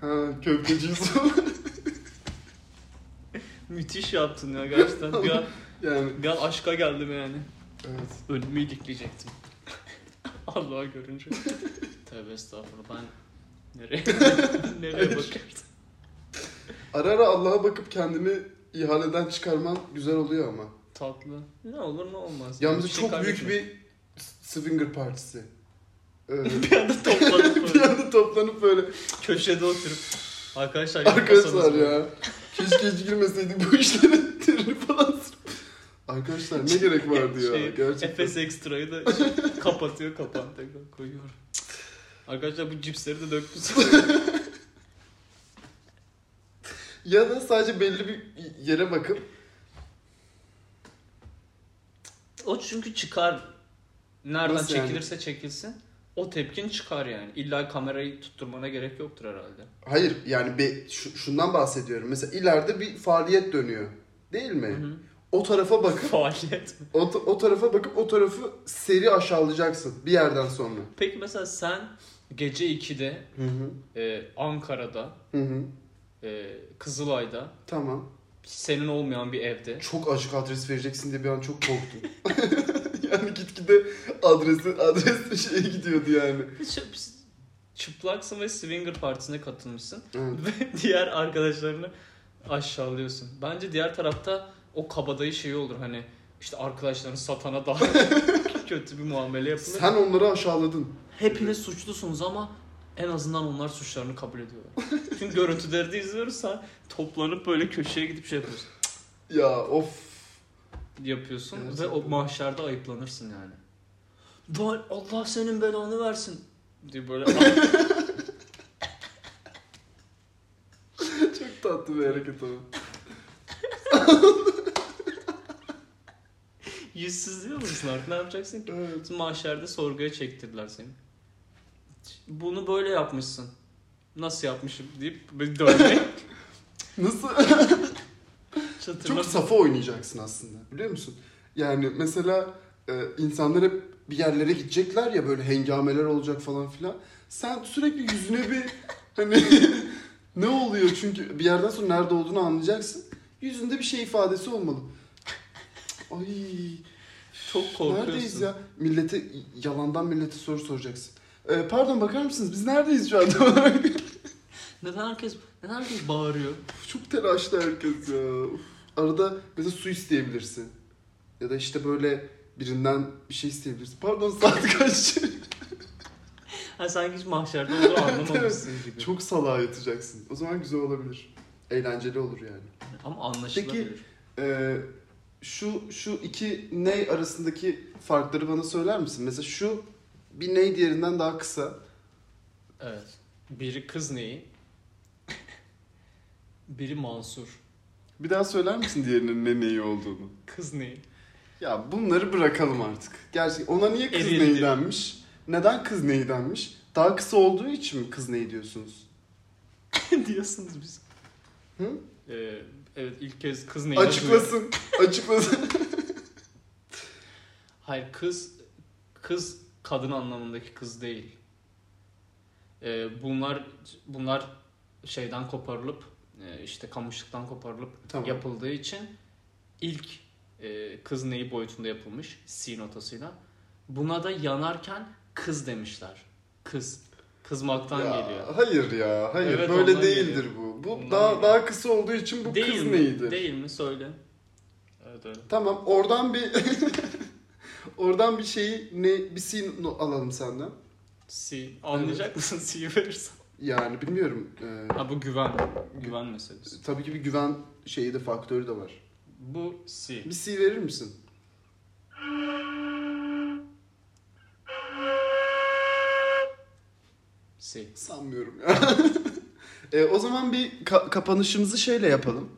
Speaker 3: Ha köfteci Yusuf.
Speaker 2: Müthiş yaptın ya gerçekten. Bir an,
Speaker 3: [LAUGHS] yani
Speaker 2: bir an aşka geldim yani.
Speaker 3: evet.
Speaker 2: Önümü ilikleyecektim. [LAUGHS] Allah'a görünce. Tövbe estağfurullah ben [LAUGHS] nereye, nereye
Speaker 3: Hayır.
Speaker 2: bakardım.
Speaker 3: Ara ara Allah'a bakıp kendini ihaleden çıkarman güzel oluyor ama.
Speaker 2: Tatlı. Ne olur ne olmaz.
Speaker 3: Yalnız
Speaker 2: Bir şey
Speaker 3: çok büyük
Speaker 2: kaybetmiyorum.
Speaker 3: bir s-
Speaker 2: [LAUGHS]
Speaker 3: swinger partisi. Ee,
Speaker 2: bir anda topladık
Speaker 3: bir
Speaker 2: böyle.
Speaker 3: anda toplanıp böyle
Speaker 2: Köşede oturup. Arkadaşlar
Speaker 3: Arkadaşlar
Speaker 2: yapmasanız
Speaker 3: ya. Keşke hiç girmeseydik bu işlere. Terör falan sürüp. Arkadaşlar ne gerek vardı ya
Speaker 2: Şey,
Speaker 3: gerçekten.
Speaker 2: Efes Extra'yı
Speaker 3: [LAUGHS]
Speaker 2: da kapatıyor kapan tekrar koyuyor. Arkadaşlar bu cipsleri de döktüm.
Speaker 3: Ya da sadece belli bir yere bakıp
Speaker 2: o çünkü çıkar. Nereden
Speaker 3: Nasıl yani?
Speaker 2: çekilirse çekilsin. O tepkin çıkar yani. İlla kamerayı tutturmana gerek yoktur
Speaker 3: [LAUGHS]
Speaker 2: herhalde.
Speaker 3: hayır yani be, şu- şundan bahsediyorum. Mesela ileride bir faaliyet dönüyor. Değil mi?
Speaker 2: hı.
Speaker 3: O tarafa bakıp
Speaker 2: Faaliyet mi?
Speaker 3: o, ta- o tarafa bakıp o tarafı seri aşağılayacaksın bir yerden sonra.
Speaker 2: Peki mesela sen gece 2'de
Speaker 3: Hı hı.
Speaker 2: e, Ankara'da,
Speaker 3: Hı hı.
Speaker 2: e, Kızılay'da,
Speaker 3: Tamam.
Speaker 2: senin olmayan bir
Speaker 3: [LAUGHS]
Speaker 2: evde.
Speaker 3: Çok açık adres vereceksin diye bir an çok korktum. [LAUGHS] yani gitgide adresi adres şeye gidiyordu yani.
Speaker 2: Çıp- Çıplaksın ve swinger partisine katılmışsın. [LAUGHS]
Speaker 3: Evet.
Speaker 2: ve diğer arkadaşlarını aşağılıyorsun. Bence diğer tarafta o kabadayı şeyi olur hani işte arkadaşlarını satana daha
Speaker 3: [LAUGHS]
Speaker 2: kötü bir muamele yapılır.
Speaker 3: Sen onları aşağıladın.
Speaker 2: Hepiniz suçlusunuz ama en azından onlar suçlarını kabul [LAUGHS] ediyorlar. Çünkü görüntüleri de izliyoruz ha toplanıp böyle köşeye gidip şey yapıyorsun.
Speaker 3: Ya of. [LAUGHS]
Speaker 2: Yapıyorsun
Speaker 3: Gerçekten.
Speaker 2: ve o mahşerde ayıplanırsın yani. Lan Allah senin belanı versin diye [LAUGHS] böyle
Speaker 3: çok tatlı bir hareket ama.
Speaker 2: yüzsüz diyor musun artık ne yapacaksın ki?
Speaker 3: Evet.
Speaker 2: Mahşerde sorguya çektirdiler seni. Bunu böyle yapmışsın. Nasıl yapmışım deyip beni dövmeye [LAUGHS]
Speaker 3: Nasıl?
Speaker 2: çatırla.
Speaker 3: Çok safa oynayacaksın aslında biliyor musun? Yani mesela e, insanlar hep bir yerlere gidecekler ya böyle hengameler olacak falan filan. Sen sürekli yüzüne bir hani [LAUGHS] ne oluyor çünkü bir yerden sonra nerede olduğunu anlayacaksın. Yüzünde bir şey ifadesi olmalı. Ay
Speaker 2: Çok
Speaker 3: Neredeyiz
Speaker 2: korkuyorsun.
Speaker 3: ya? Millete yalandan millete soru soracaksın. E, pardon bakar mısınız biz neredeyiz şu anda?
Speaker 2: Neden herkes neden herkes bağırıyor?
Speaker 3: Çok telaşlı herkes ya. Uf. Arada mesela su isteyebilirsin. Ya da işte böyle birinden bir şey isteyebilirsin. Pardon [LAUGHS] saat kaç?
Speaker 2: Ha sanki hiç mahşerde olduğunu
Speaker 3: [LAUGHS]
Speaker 2: anlamamışsın gibi.
Speaker 3: Çok salağa yatacaksın. O zaman güzel olabilir. Eğlenceli olur yani.
Speaker 2: Ama anlaşılabilir.
Speaker 3: Peki- Ee, şu şu iki ney arasındaki farkları bana söyler misin? Mesela şu bir ney diğerinden daha kısa.
Speaker 2: Evet. Biri kız neyi? Biri Mansur.
Speaker 3: Bir daha söyler misin diğerinin ne neyi olduğunu?
Speaker 2: Kız neyi? [LAUGHS]
Speaker 3: Ya bunları bırakalım artık. Gerçek ona niye kız
Speaker 2: Eriydi.
Speaker 3: neyi denmiş? Neden kız neyi denmiş? Daha kısa olduğu için mi kız neyi diyorsunuz?
Speaker 2: diyorsunuz biz.
Speaker 3: Hı?
Speaker 2: Ee, evet ilk kez kız neyi? [LAUGHS]
Speaker 3: Açıklasın. Açıklasın.
Speaker 2: Hayır kız kız kadın anlamındaki kız değil. Ee, bunlar bunlar şeyden koparılıp e, işte kamışlıktan koparılıp
Speaker 3: Tamam.
Speaker 2: yapıldığı için ilk e, kız neyi boyutunda yapılmış C notasıyla. Buna da yanarken kız demişler. Kız. Kızmaktan
Speaker 3: Ya,
Speaker 2: geliyor.
Speaker 3: Hayır ya. Hayır
Speaker 2: Evet,
Speaker 3: böyle
Speaker 2: ondan
Speaker 3: değildir
Speaker 2: geliyor.
Speaker 3: bu. Bu
Speaker 2: Ondan
Speaker 3: daha
Speaker 2: geliyor.
Speaker 3: daha kısa olduğu için bu
Speaker 2: değil
Speaker 3: kız
Speaker 2: mi?
Speaker 3: neyidir?
Speaker 2: Değil mi? Söyle. Evet öyle.
Speaker 3: Tamam oradan bir [LAUGHS] oradan bir şeyi ne bir sin alalım senden.
Speaker 2: C. Anlayacak mısın [LAUGHS] C'yi verirsen?
Speaker 3: Yani bilmiyorum. Ee,
Speaker 2: Ha bu güven. Güven meselesi.
Speaker 3: tabii ki bir güven şeyi de faktörü de var.
Speaker 2: Bu C.
Speaker 3: Bir si verir misin?
Speaker 2: C.
Speaker 3: Sanmıyorum. [LAUGHS] e, o zaman bir ka- kapanışımızı şeyle yapalım.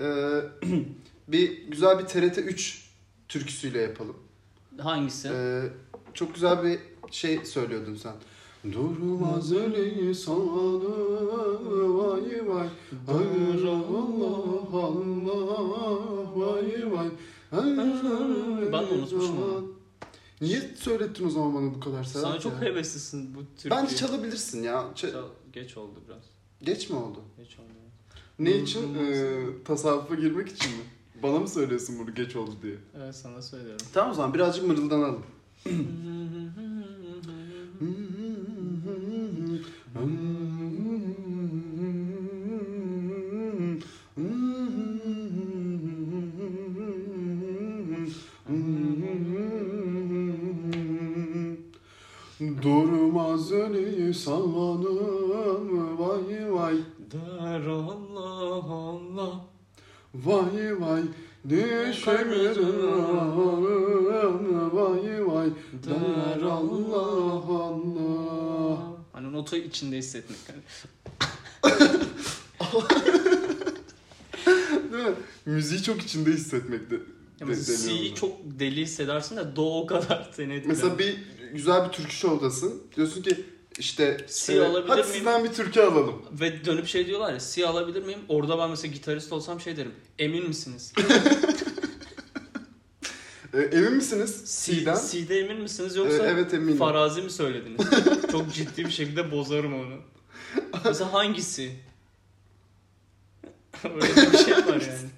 Speaker 3: E, [CLEARS THROAT] bir güzel bir TRT 3 türküsüyle yapalım.
Speaker 2: Hangisi?
Speaker 3: E, çok güzel bir şey söylüyordun sen. Durmaz öleyi sanı vay vay Hayır Allah Allah vay vay Hayır
Speaker 2: Ben de unutmuşum
Speaker 3: Allah.
Speaker 2: onu.
Speaker 3: Niye söylettin o zaman bana bu kadar Serhat
Speaker 2: Sana çok
Speaker 3: ya?
Speaker 2: heveslisin bu türkü.
Speaker 3: Bence çalabilirsin ya. Ç-
Speaker 2: Geç oldu biraz.
Speaker 3: Geç mi oldu?
Speaker 2: Geç oldu.
Speaker 3: Ne
Speaker 2: Hmm,
Speaker 3: için?
Speaker 2: hmm.
Speaker 3: Ee, tasavvufa girmek için mi? Bana mı söylüyorsun bunu geç oldu diye?
Speaker 2: Evet sana [CLEARS THROAT] söylüyorum.
Speaker 3: Tamam o zaman birazcık mırıldanalım. Durmaz öleyi sanım vay vay
Speaker 2: Der Allah Allah.
Speaker 3: Vay vay Düşemiyorum vay vay der Allah Allah.
Speaker 2: Hani notu içinde hissetmek. Hani Yani
Speaker 3: Değil mi? Müziği çok içinde hissetmekte.
Speaker 2: Ya
Speaker 3: de-
Speaker 2: mesela
Speaker 3: deniyorum
Speaker 2: C'yi
Speaker 3: ben.
Speaker 2: çok deli hissedersin de Do o kadar [LAUGHS] seni etkiler.
Speaker 3: Mesela bir güzel bir türkü şovdasın. Diyorsun ki işte
Speaker 2: Si
Speaker 3: e,
Speaker 2: alabilir
Speaker 3: hadi
Speaker 2: miyim?"
Speaker 3: sizden bir türkü alalım.
Speaker 2: Ve dönüp şey diyorlar ya C alabilir miyim? Orada ben mesela gitarist olsam şey derim. Emin
Speaker 3: [LAUGHS]
Speaker 2: misiniz?
Speaker 3: E, emin misiniz
Speaker 2: C'den?
Speaker 3: C'den?
Speaker 2: C'de emin misiniz
Speaker 3: E,
Speaker 2: yoksa
Speaker 3: evet eminim.
Speaker 2: farazi mi
Speaker 3: [LAUGHS]
Speaker 2: söylediniz? çok ciddi bir şekilde bozarım onu. Mesela hangisi? [LAUGHS] Öyle bir şey var yani.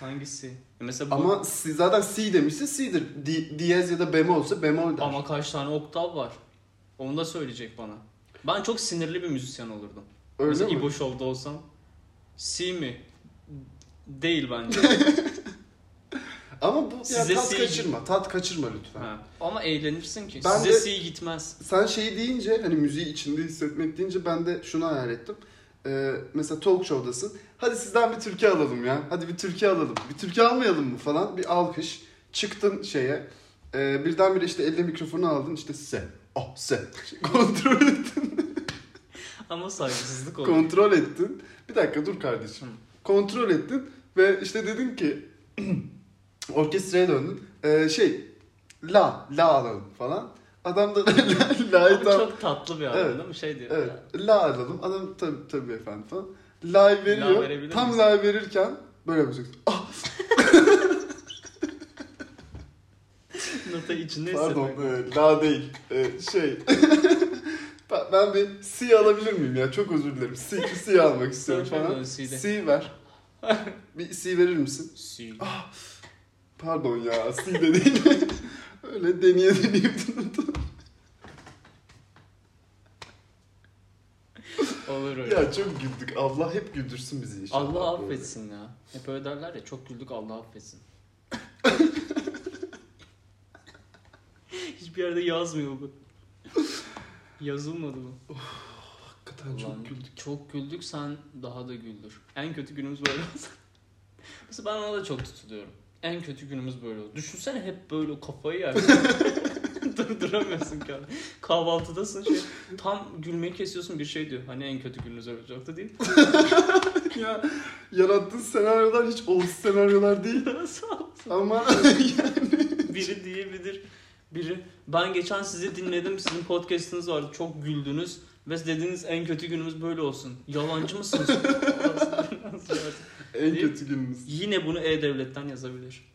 Speaker 2: Hangisi? Ya mesela bu...
Speaker 3: Ama si, zaten C demişse C'dir. Di, diyez ya da bemolsa bemol der.
Speaker 2: Ama kaç tane oktav var? Onu da söyleyecek bana. Ben çok sinirli bir müzisyen olurdum.
Speaker 3: Öyle
Speaker 2: Mesela
Speaker 3: mi?
Speaker 2: İbo Show'da olsam. C mi? Değil
Speaker 3: [LAUGHS]
Speaker 2: bence.
Speaker 3: Ama bu ya,
Speaker 2: Size
Speaker 3: tat
Speaker 2: C-
Speaker 3: kaçırma. Tat kaçırma lütfen.
Speaker 2: ha. Ama eğlenirsin ki.
Speaker 3: Ben
Speaker 2: Size
Speaker 3: de-
Speaker 2: C gitmez.
Speaker 3: Sen şey deyince hani müziği içinde hissetmek deyince ben de şunu hayal ettim. Ee, mesela talk show'dasın. Hadi sizden bir türkü alalım ya. Hadi bir türkü alalım. Bir türkü almayalım mı falan. Bir alkış. Çıktın şeye. Ee, birdenbire işte elde mikrofonu aldın. İşte se. Oh se. [LAUGHS] kontrol ettin.
Speaker 2: Ama saygısızlık olur.
Speaker 3: kontrol ettin. Bir dakika dur kardeşim. Kontrol ettin ve işte dedin ki [CLEARS THROAT] orkestraya döndün. Ee, şey la la alalım falan. Adam da [LAUGHS] la'yı
Speaker 2: Ama
Speaker 3: tam
Speaker 2: çok tatlı bir adam
Speaker 3: Evet.
Speaker 2: değil mi? Şey diyor.
Speaker 3: Evet. La alalım. Adam tabii tabii efendim falan. La
Speaker 2: La
Speaker 3: veriyor.
Speaker 2: verebilir
Speaker 3: tam
Speaker 2: misin?
Speaker 3: la verirken böyle yapacaksın. Ah
Speaker 2: Nota içinde
Speaker 3: pardon.
Speaker 2: hissetmek.
Speaker 3: e, la değil. E, şey. [LAUGHS] ben, ben bir si alabilir miyim ya? Çok özür dilerim. Si, si almak istiyorum
Speaker 2: Söyle
Speaker 3: falan.
Speaker 2: bakalım C'de. [LAUGHS]
Speaker 3: Si ver. bir si verir misin?
Speaker 2: C.
Speaker 3: Pardon ya. Si de değil. [LAUGHS] Öyle deneye deneyip durdum.
Speaker 2: Olur öyle.
Speaker 3: ya çok güldük. Allah hep güldürsün bizi inşallah.
Speaker 2: Allah affetsin ya. Hep öyle derler ya çok güldük Allah affetsin. Hiçbir yerde yazmıyor bu. Yazılmadı bu.
Speaker 3: Hakikaten
Speaker 2: Ulan,
Speaker 3: çok güldük.
Speaker 2: Çok güldük sen daha da güldür. En kötü günümüz böyle olsa. Mesela ben ona da çok tutuluyorum. En kötü günümüz böyle oldu. Düşünsene hep böyle kafayı yersin. [LAUGHS] Durduramıyorsun kendini. Kahvaltıdasın şey. Tam gülmeyi kesiyorsun bir şey diyor. Hani en kötü gününüz öyle olacaktı değil. [LAUGHS]
Speaker 3: ya yarattığın senaryolar hiç olası senaryolar değil.
Speaker 2: Sağ ol.
Speaker 3: Ama
Speaker 2: Biri diyebilir. Biri. Ben geçen sizi dinledim. Sizin podcast'ınız vardı. Çok güldünüz. Ve dediniz en kötü günümüz böyle olsun. Yalancı mısınız?
Speaker 3: en
Speaker 2: Değil.
Speaker 3: kötü günümüz.
Speaker 2: Yine bunu E-Devlet'ten yazabilir.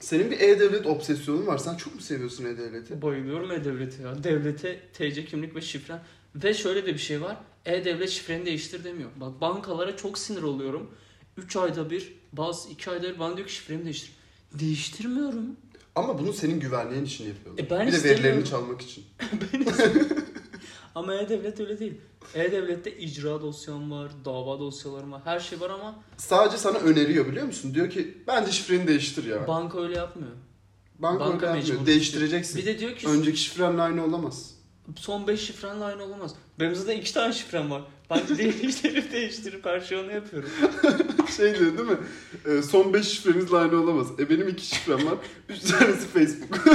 Speaker 3: Senin bir e-devlet obsesyonun var. Sen çok mu seviyorsun e-devleti?
Speaker 2: Bayılıyorum E-Devlet'e ya. Devlete TC kimlik ve şifren. Ve şöyle de bir şey var. E-Devlet şifreni değiştir demiyor. Bak bankalara çok sinir oluyorum. 3 ayda bir, bazı 2 ayda bir bana diyor ki şifremi değiştir. Değiştirmiyorum.
Speaker 3: Ama bunu senin güvenliğin için yapıyorlar.
Speaker 2: E ben
Speaker 3: bir de
Speaker 2: istemiyorum.
Speaker 3: verilerini çalmak için.
Speaker 2: Ama E-Devlet öyle değil. E-Devlet'te icra dosyam var, dava dosyalarım var, her şey var ama
Speaker 3: Sadece sana öneriyor biliyor musun? Diyor ki bence şifreni değiştir ya.
Speaker 2: banka öyle yapmıyor.
Speaker 3: banka
Speaker 2: banka
Speaker 3: öyle yapmıyor.
Speaker 2: mecbur.
Speaker 3: Değiştireceksin.
Speaker 2: Bir de diyor ki
Speaker 3: Önceki şifrenle aynı olamaz. [LAUGHS]
Speaker 2: son 5 şifrenle aynı olamaz. Benim zaten 2 tane şifrem var. [LAUGHS] Ben değiştirip değiştirip her şeyi onu yapıyorum.
Speaker 3: Şey diyor değil mi? E, son 5 şifrenizle aynı olamaz. E benim 2 şifrem var. [LAUGHS] 3 tanesi Facebook.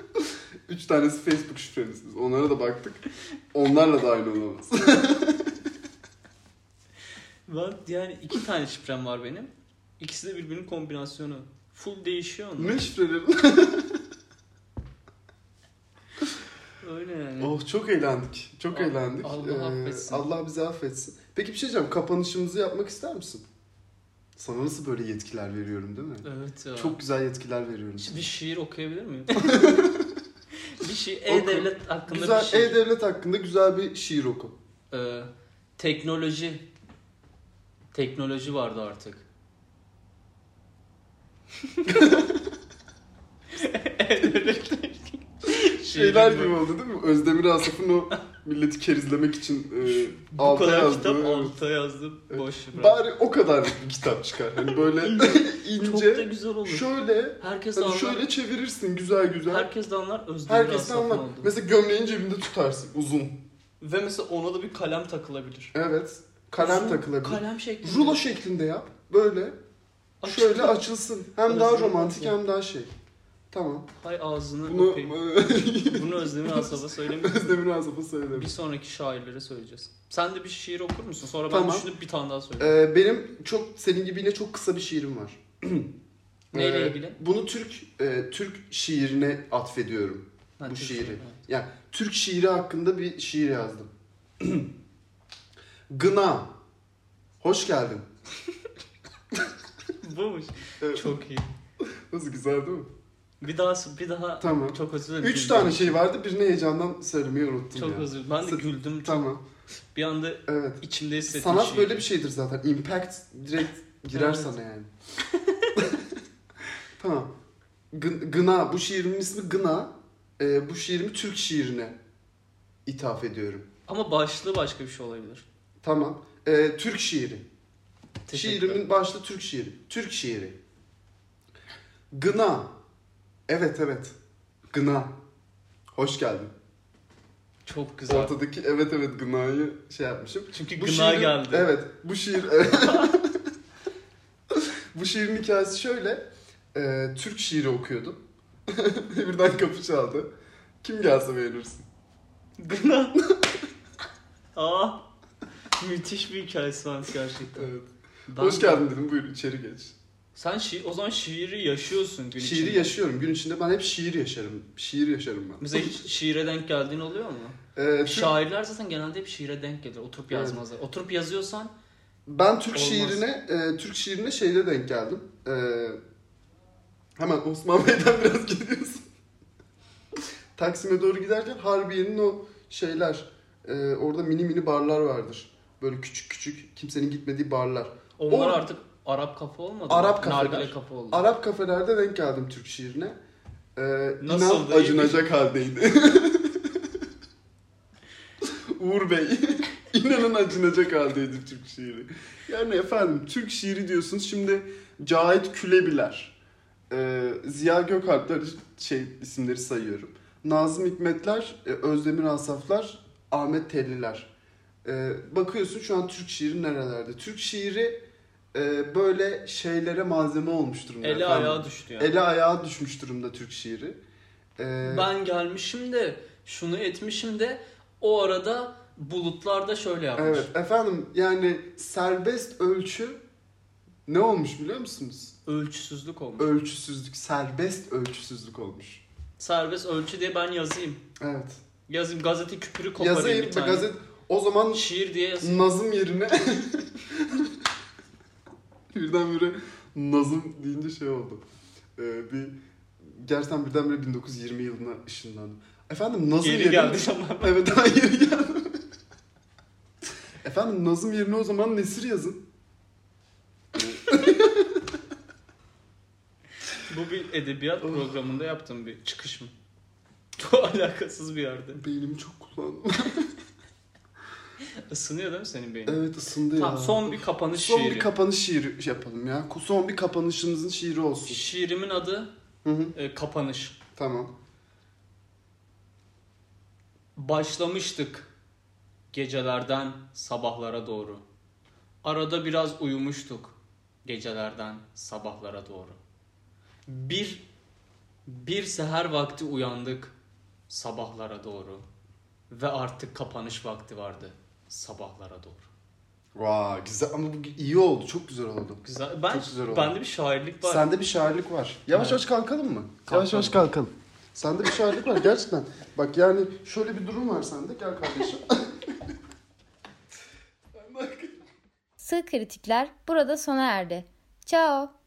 Speaker 3: [LAUGHS] 3 tanesi Facebook şifreniziniz. Onlara da baktık. Onlarla da aynı olamaz. [LAUGHS]
Speaker 2: Ben yani 2 tane şifrem var benim. İkisi de birbirinin kombinasyonu. Full değişiyor onlar.
Speaker 3: ne şifreleri?
Speaker 2: Öyle yani.
Speaker 3: Oh çok eğlendik. Çok
Speaker 2: Al-
Speaker 3: eğlendik. Ee,
Speaker 2: Allah affetsin.
Speaker 3: Allah bizi affetsin. Peki bir şey diyeceğim. Kapanışımızı yapmak ister misin? Sana nasıl böyle yetkiler veriyorum değil mi?
Speaker 2: Evet ya.
Speaker 3: Çok güzel yetkiler veriyorum.
Speaker 2: Bir şiir okuyabilir
Speaker 3: [LAUGHS]
Speaker 2: miyim? bir şiir.
Speaker 3: Oku.
Speaker 2: E-Devlet hakkında
Speaker 3: Güzel
Speaker 2: bir şey- şiir.
Speaker 3: E-Devlet hakkında güzel bir şiir oku.
Speaker 2: Ee, teknoloji teknoloji vardı artık.
Speaker 3: Şeyler gibi oldu değil mi? Özdemir Asaf'ın o milleti kerizlemek için e,
Speaker 2: Bu
Speaker 3: alta
Speaker 2: kadar
Speaker 3: yazdığı-
Speaker 2: kitap alta yazdım.
Speaker 3: Evet.
Speaker 2: Boş bırak.
Speaker 3: Bari o kadar bir kitap çıkar.
Speaker 2: [LAUGHS]
Speaker 3: Hani böyle
Speaker 2: Çok da
Speaker 3: ince,
Speaker 2: güzel olur.
Speaker 3: şöyle,
Speaker 2: herkes
Speaker 3: hani
Speaker 2: anlar.
Speaker 3: şöyle çevirirsin güzel güzel.
Speaker 2: herkes de anlar Özdemir
Speaker 3: Herkes de
Speaker 2: Asaf'ın
Speaker 3: anlar.
Speaker 2: olduğunu.
Speaker 3: Mesela gömleğin cebinde tutarsın uzun.
Speaker 2: Ve mesela ona da bir kalem takılabilir.
Speaker 3: Evet. Kalem
Speaker 2: Uzun
Speaker 3: takılabilir.
Speaker 2: Kalem şeklinde.
Speaker 3: Rulo şeklinde yap. Böyle.
Speaker 2: Aç.
Speaker 3: Şöyle açılsın. Hem
Speaker 2: Orası
Speaker 3: daha
Speaker 2: yok
Speaker 3: romantik
Speaker 2: aslında.
Speaker 3: hem daha şey. Tamam.
Speaker 2: Hay ağzını
Speaker 3: Bunu
Speaker 2: öpeyim.
Speaker 3: [LAUGHS]
Speaker 2: Bunu Özdemir Asaf'a söylemeyiz.
Speaker 3: Özdemir Asaf'a söyledim.
Speaker 2: bir sonraki şairlere söyleyeceğiz. Sen de bir şiir okur musun? Sonra ben
Speaker 3: Tamam.
Speaker 2: düşünüp bir tane daha söyleyeyim.
Speaker 3: Ee, benim çok senin gibi yine çok kısa bir şiirim var.
Speaker 2: Neyle
Speaker 3: Ee,
Speaker 2: ilgili?
Speaker 3: Bunu Türk e, Türk şiirine atfediyorum.
Speaker 2: Ha,
Speaker 3: bu
Speaker 2: Türk
Speaker 3: şiiri.
Speaker 2: şiiri, evet.
Speaker 3: Yani Türk şiiri hakkında bir şiir yazdım. [CLEARS THROAT] Gına. Hoş geldin.
Speaker 2: [LAUGHS] Buymuş.
Speaker 3: Evet.
Speaker 2: Çok iyi.
Speaker 3: Nasıl güzel değil mi?
Speaker 2: Bir daha bir daha
Speaker 3: Tamam.
Speaker 2: çok özür dilerim.
Speaker 3: Üç
Speaker 2: Güldüm.
Speaker 3: tane şey vardı. Birini heyecandan söylemeyi unuttum
Speaker 2: Çok
Speaker 3: ya.
Speaker 2: özür dilerim. Ben de
Speaker 3: Sı-
Speaker 2: güldüm.
Speaker 3: Tamam.
Speaker 2: Bir anda
Speaker 3: Evet.
Speaker 2: içimde hissettim
Speaker 3: Sanat
Speaker 2: şiiri.
Speaker 3: böyle bir şeydir zaten. Impact direkt girer
Speaker 2: şey Evet.
Speaker 3: sana yani. [LAUGHS] tamam. Gı- Gına. Bu şiirimin ismi Gına. Ee, bu şiirimi Türk şiirine ithaf ediyorum.
Speaker 2: Ama başlığı başka bir şey olabilir.
Speaker 3: Tamam. Ee, Türk şiiri.
Speaker 2: Teşekkürler.
Speaker 3: Şiirimin başlığı Türk şiiri. Türk şiiri. Gına. Evet evet. Gına. Hoş geldin.
Speaker 2: Çok güzel.
Speaker 3: Ortadaki evet evet gınayı şey yapmışım.
Speaker 2: Çünkü gına
Speaker 3: şiirin-
Speaker 2: geldi.
Speaker 3: Evet. Bu şiir... [LAUGHS] bu şiirin hikayesi şöyle. Ee, Türk şiiri okuyordum. [LAUGHS] Birden kapı çaldı. Kim gelse beğenirsin.
Speaker 2: Gına. [LAUGHS] Aa. Müthiş bir hikayesi varmış gerçekten.
Speaker 3: Evet.
Speaker 2: Ben-
Speaker 3: Hoş geldin dedim. Buyur içeri geç.
Speaker 2: Sen şi o zaman şiiri yaşıyorsun gün
Speaker 3: şiiri
Speaker 2: içinde.
Speaker 3: yaşıyorum. Gün içinde ben hep şiir yaşarım. Şiir yaşarım ben.
Speaker 2: Mesela hiç şiire denk geldiğin oluyor mu?
Speaker 3: Ee, Türk-
Speaker 2: Şairler zaten genelde hep şiire denk gelir. Oturup
Speaker 3: Evet.
Speaker 2: yazmazlar. Oturup yazıyorsan
Speaker 3: Ben Türk
Speaker 2: Olmaz.
Speaker 3: şiirine e, Türk şiirine şeyde denk geldim. E, hemen Osman Bey'den [LAUGHS] biraz gidiyorsun. Taksim'e doğru giderken Harbiye'nin o şeyler e, orada mini mini barlar vardır. Böyle küçük küçük kimsenin gitmediği barlar.
Speaker 2: onlar
Speaker 3: O-
Speaker 2: artık Arap kafa olmadı. mı?
Speaker 3: Arap kafeler.
Speaker 2: Nargile kafa oldu.
Speaker 3: Arap kafelerde denk geldim Türk şiirine. E, inan
Speaker 2: Nasıldı?
Speaker 3: acınacak haldeydi. [LAUGHS] Uğur Bey. [LAUGHS] İnanın acınacak haldeydi Türk şiiri. Yani efendim Türk şiiri diyorsunuz şimdi Cahit Külebiler, e, Ziya Gökalpler şey isimleri sayıyorum. Nazım Hikmetler, e, Özdemir Asaflar, Ahmet Telliler. E, bakıyorsun şu an Türk şiiri nerelerde? Türk şiiri e, böyle şeylere malzeme olmuş durumda.
Speaker 2: Eli
Speaker 3: efendim.
Speaker 2: ayağa düştü yani.
Speaker 3: Ele ayağa düşmüş durumda Türk şiiri. E,
Speaker 2: Ben gelmişim de şunu etmişim de o arada bulutlarda şöyle yapmış.
Speaker 3: Evet efendim yani serbest ölçü ne olmuş biliyor musunuz?
Speaker 2: Ölçüsüzlük olmuş.
Speaker 3: Ölçüsüzlük, serbest ölçüsüzlük olmuş.
Speaker 2: Serbest ölçü diye ben yazayım.
Speaker 3: Evet.
Speaker 2: Yazayım gazete küpürü koparayım
Speaker 3: Yazayım
Speaker 2: bir
Speaker 3: ve
Speaker 2: tane.
Speaker 3: gazet o zaman
Speaker 2: Şiir diye yazayım.
Speaker 3: Nazım yerine birdenbire Nazım deyince şey oldu. Ee, bir gerçekten birdenbire 1920 yılına ışınlandım. Efendim Nazım
Speaker 2: Geri
Speaker 3: yerine
Speaker 2: geldi tamam.
Speaker 3: Evet daha geri geldi. Efendim Nazım yerine o zaman Nesir yazın.
Speaker 2: Bu bir edebiyat
Speaker 3: Of.
Speaker 2: programında yaptığım bir çıkış [LAUGHS] mı? Çok alakasız bir yerde.
Speaker 3: Beynimi çok kullandım.
Speaker 2: Isınıyor değil mi senin beynin?
Speaker 3: Evet ısındı
Speaker 2: Tamam
Speaker 3: ya.
Speaker 2: son bir kapanış
Speaker 3: Son
Speaker 2: şiiri.
Speaker 3: bir kapanış şiiri şey yapalım ya. Son bir kapanışımızın şiiri olsun.
Speaker 2: Şiirimin adı
Speaker 3: Hı hı.
Speaker 2: e, Kapanış.
Speaker 3: Tamam.
Speaker 2: Başlamıştık gecelerden sabahlara doğru. Arada biraz uyumuştuk gecelerden sabahlara doğru. Bir bir seher vakti uyandık sabahlara doğru ve artık kapanış vakti vardı sabahlara doğru.
Speaker 3: Vay güzel ama bu iyi oldu. Çok güzel oldu.
Speaker 2: Güzel. Ben
Speaker 3: Çok güzel oldu.
Speaker 2: bende bir şairlik var.
Speaker 3: Sende bir şairlik var. Yavaş
Speaker 2: Evet.
Speaker 3: yavaş kalkalım mı?
Speaker 2: Kalkalım.
Speaker 3: Yavaş yavaş kalkalım. Sende bir şairlik var gerçekten. Bak yani şöyle bir durum var sende. Gel kardeşim. [LAUGHS]
Speaker 1: Sığ kritikler burada sona erdi. Ciao.